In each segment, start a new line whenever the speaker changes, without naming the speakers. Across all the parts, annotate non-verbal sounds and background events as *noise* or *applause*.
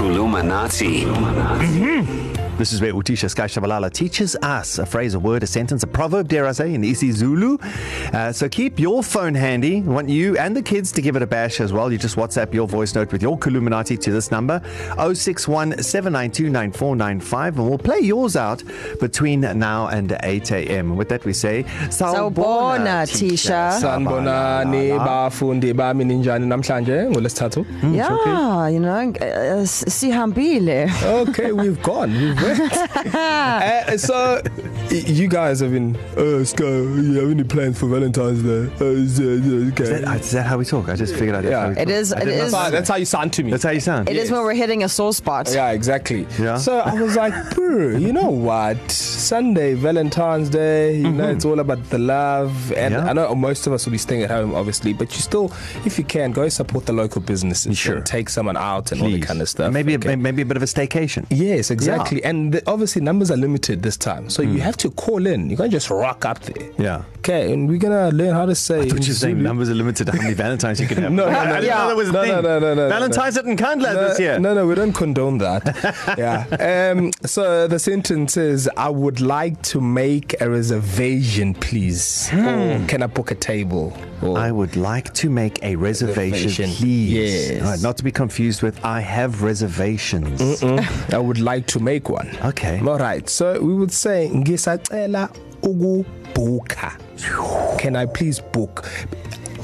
Illuminati.
This is where Utisha Skyshabalala teaches us a phrase, a word, a sentence, a proverb, dare I say, in isiZulu. Uh, so keep your phone handy. We want you and the kids to give it a bash as well. You just WhatsApp your voice note with your Columinati to this number, 061 792 9495, and we'll play yours out between now and 8 a.m. With that, we say, Ah,
Sawubona, Tisha.
sanibonani
Shabalala.
bafundi bami ninjani namhlanje ngolesithathu
Yeah, okay. you know, uh,
*laughs*
sihambile.
okay we've gone we've went uh, so y- you guys have been uh, Sky, you have any plans for Valentine's Day uh, is, uh, okay.
Is that, is that how we talk? I just figured out that's
Yeah.
how we
It
talk.
is-
I
it
did not
is-
that's, how,
know that.
that's how you sound to me
That's how you sound.
It yes. is when we're hitting a sore spot.
Yeah, exactly.
Yeah.
So I was like, bro, you know what? Sunday, Valentine's Day, you mm-hmm. know, it's all about the love. And
Yeah.
yeah. I know most of us will be staying at home, obviously, but you still, if you can, go support the local businesses.
Sure.
And take someone out and Please. all
Please.
that kind of stuff.
Maybe, okay. maybe a bit of a staycation.
Yes, exactly. Yeah. And the, obviously, numbers are limited this time. So mm. you have to call in. You can't just rock up there.
Hmm. Yeah.
Okay, and we're going to learn how to say.
Which
in
is saying
Zulu-
numbers are limited to how
*laughs*
many Valentines you can have.
No, no,
I,
no,
I didn't
yeah.
know that was a
No,
thing.
no, no, no, no,
Valentine's no. at Nkandla
no,
this year.
No, no, we don't
*laughs*
condone that. yeah. Um, so the sentence is I would like to make a reservation, please. Hmm. Or can I book a table? Or,
I would like to make a reservation,
Reservation.
please.
Yes.
All right, not to be confused with I have reservations. Mm-mm.
Mm, I would like to make one.
Okay.
All right. So we would say ngisacela ukubuka. Can I please book?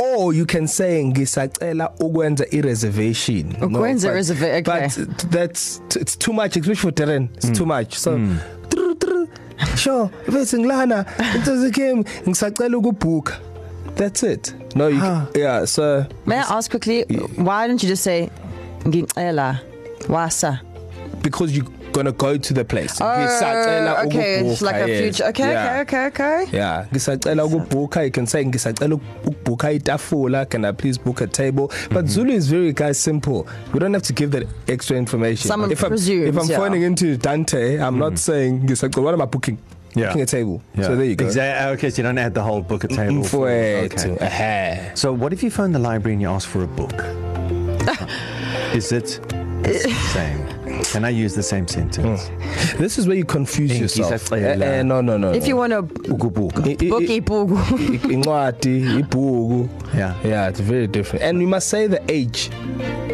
Or you can say ngisacela ukwenza i-reservation.
Ukwenza
but-
reserva- okay.
But that's it's too much, especially for Darren. It's mm. too much. So mm. tru, tru, sure, bese ngilana into game ngisacela ukubhuka. That's it. No, you huh. can, yeah, so
May I ask quickly, why don't you just say, Ngingela, wasa?
because you're going to go to the place. Ngisacela
Oh, okay, it's
ukubhuka,
like a
yes.
future. Okay, yeah. okay, okay, okay.
Yeah, ngisacela ukubhuka you can say ngisacela ukubhuka itafula can I please book a table but mm-hmm. Zulu is very guys simple we don't have to give that extra information
Someone
if I'm,
presumes,
if I'm
yeah.
phoning into Dante I'm mm-hmm. not saying ngisacela what am I booking
Yeah.
booking a table so there you go
Exactly. Okay, so you don't add the whole book at table. for-
mfowethu
Okay.
ehe
So, what if you phone the library and you ask for a book?
*laughs*
is it the same? Can I use the same sentence?
this is where you confuse yourself
Ngisacela.
Eh, eh, no no no
If
no.
you want to
Mm.
Ukubuka.
I- i-
book
i- *laughs*
ipugu.
i- incwadi ibhuku
Yeah.
yeah it's very different and you must say the age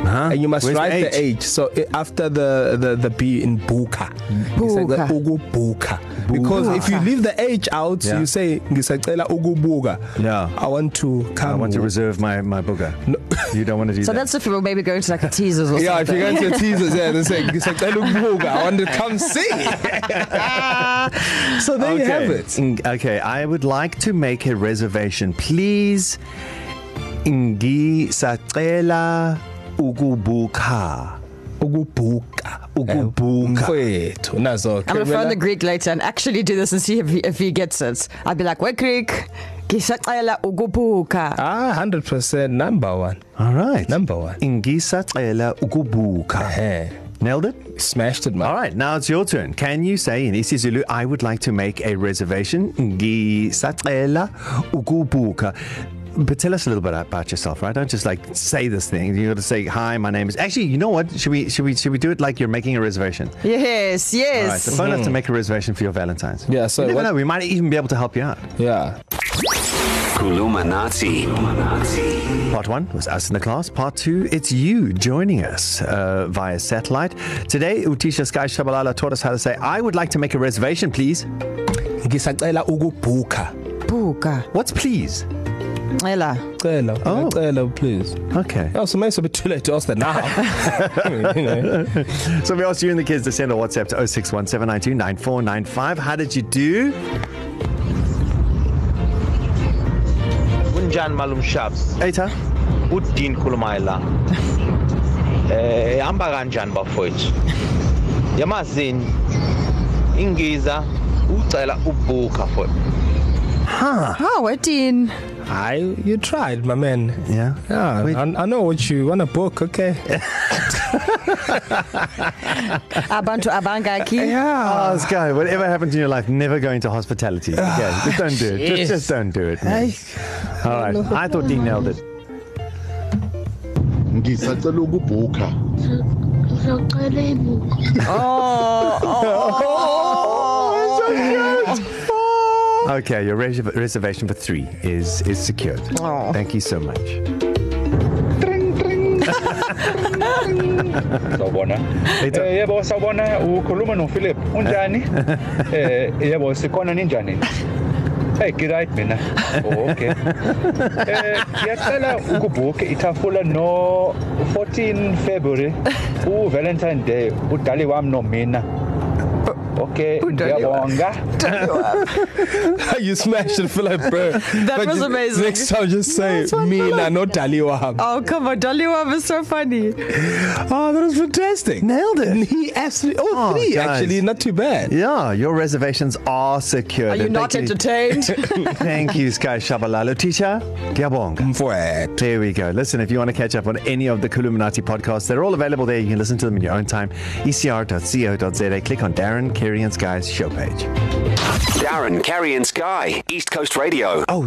Huh?
and you must
Where's
Ah, Where's write the
H?
age. So i- after the the, the B in buka,
Buka.
ugubuka. Because if you leave the H out,
Yeah.
yeah. you say ngisacela ugubuka.
Yeah.
I want to come.
I want to reserve my, my booger. No. You don't want to do
So
that.
that's if we were maybe going to like a teasers or
*laughs* yeah, if
something.
you go to teasers, yeah, they say ngisacela ugubuka. I want to come see. *laughs* so there okay. you have it.
Mm, Okay, I would like to make a reservation, please. Ngisacela ukubuka.
Ugubuka.
Ukubuka.
Mfowethu, Eh, nazo.
*laughs* I'm going to phone the Greek later and actually do this and see if he, if he gets it. I'll be like, we're Greek. Ngisacela ukubuka.
Ah, 100% number one.
All right.
Number one.
Ngisacela ukubuka.
Hey,
Nailed it?
smashed it, man.
All right, now it's your turn. Can you say in isiZulu, I would like to make a reservation? Ngisacela ukubuka. But tell us a little bit about yourself, right? Don't just like say this thing. You got to say, "Hi, my name is." Actually, you know what? Should we should we should we do it like you're making a reservation?
Yes,
All right,
yes.
so phone us to make a reservation for your Valentine's.
Mm-hmm. Yeah, so
you never
what-
know. We might even be able to help you out.
Yeah.
Illuminati.
Part one was us in the class. Part two, it's you joining us uh, via satellite. Today, Utisha Sky Shabalala taught us how to say, I would like to make a reservation, please.
Ngisacela ugubuka.
Buka.
What's please?
Ela.
Cela,
Oh.
oh. cela, please.
Okay.
Oh, so maybe it's a bit too late to ask that now. *laughs* you know.
So we asked you and the kids to send a WhatsApp to 061 792 9495. How did you do?
kunjani malum shabs
Eta?
udean khulumayela *laughs* eh ihamba kanjani bafowethu yamazini ingiza ucela ubuka fowethu
Oh, we're Dean.
I, you tried, my man.
Yeah.
Yeah,
Wait.
I, I know what you want to book, okay? *laughs*
Abantu abangaki.
Oh, Sky, whatever happens in your life, never go into hospitality.
Ah,
Okay, just don't do it. Just, just don't do it. man.
Hey.
All right. I thought Dean nailed it.
ngisacela ukubhukha
ngizocela ibuku
Okay, your res- reservation for three is is secured.
Aw.
Thank you so much.
sawubona
Ito.
Eh, yebo sawubona ukhuluma nophilip unjani *laughs* eh yebo sikhona ninjani Hey, right mina. Oh, okay. Eh, ngiyacela ukubhuke ithafula no 14 February u Valentine Day udali wami nomina. Okay,
Udali wami.
ngiyabonga.
you smashed it, Philip,
*laughs*
bro. that
was amazing.
Next time, just say Mina, not Daliwa.
Oh, come on, Daliwab is so funny.
Oh, that was fantastic.
Nailed it.
And he absolutely, all
Oh,
three
guys.
actually, not too bad.
Yeah, your reservations are secured.
Are you
And
not
thank
entertained? *laughs*
You, *laughs* thank you, Sky Shabalala. Tisha, Gabong.
Mfwet.
There we go. Listen, if you want to catch up on any of the Kuluminati podcasts, they're all available there. You can listen to them in your own time. E ecr.co.za. Click on Darren Kerry and Sky's show page.
Darren, Carrie, and Sky, East Coast Radio.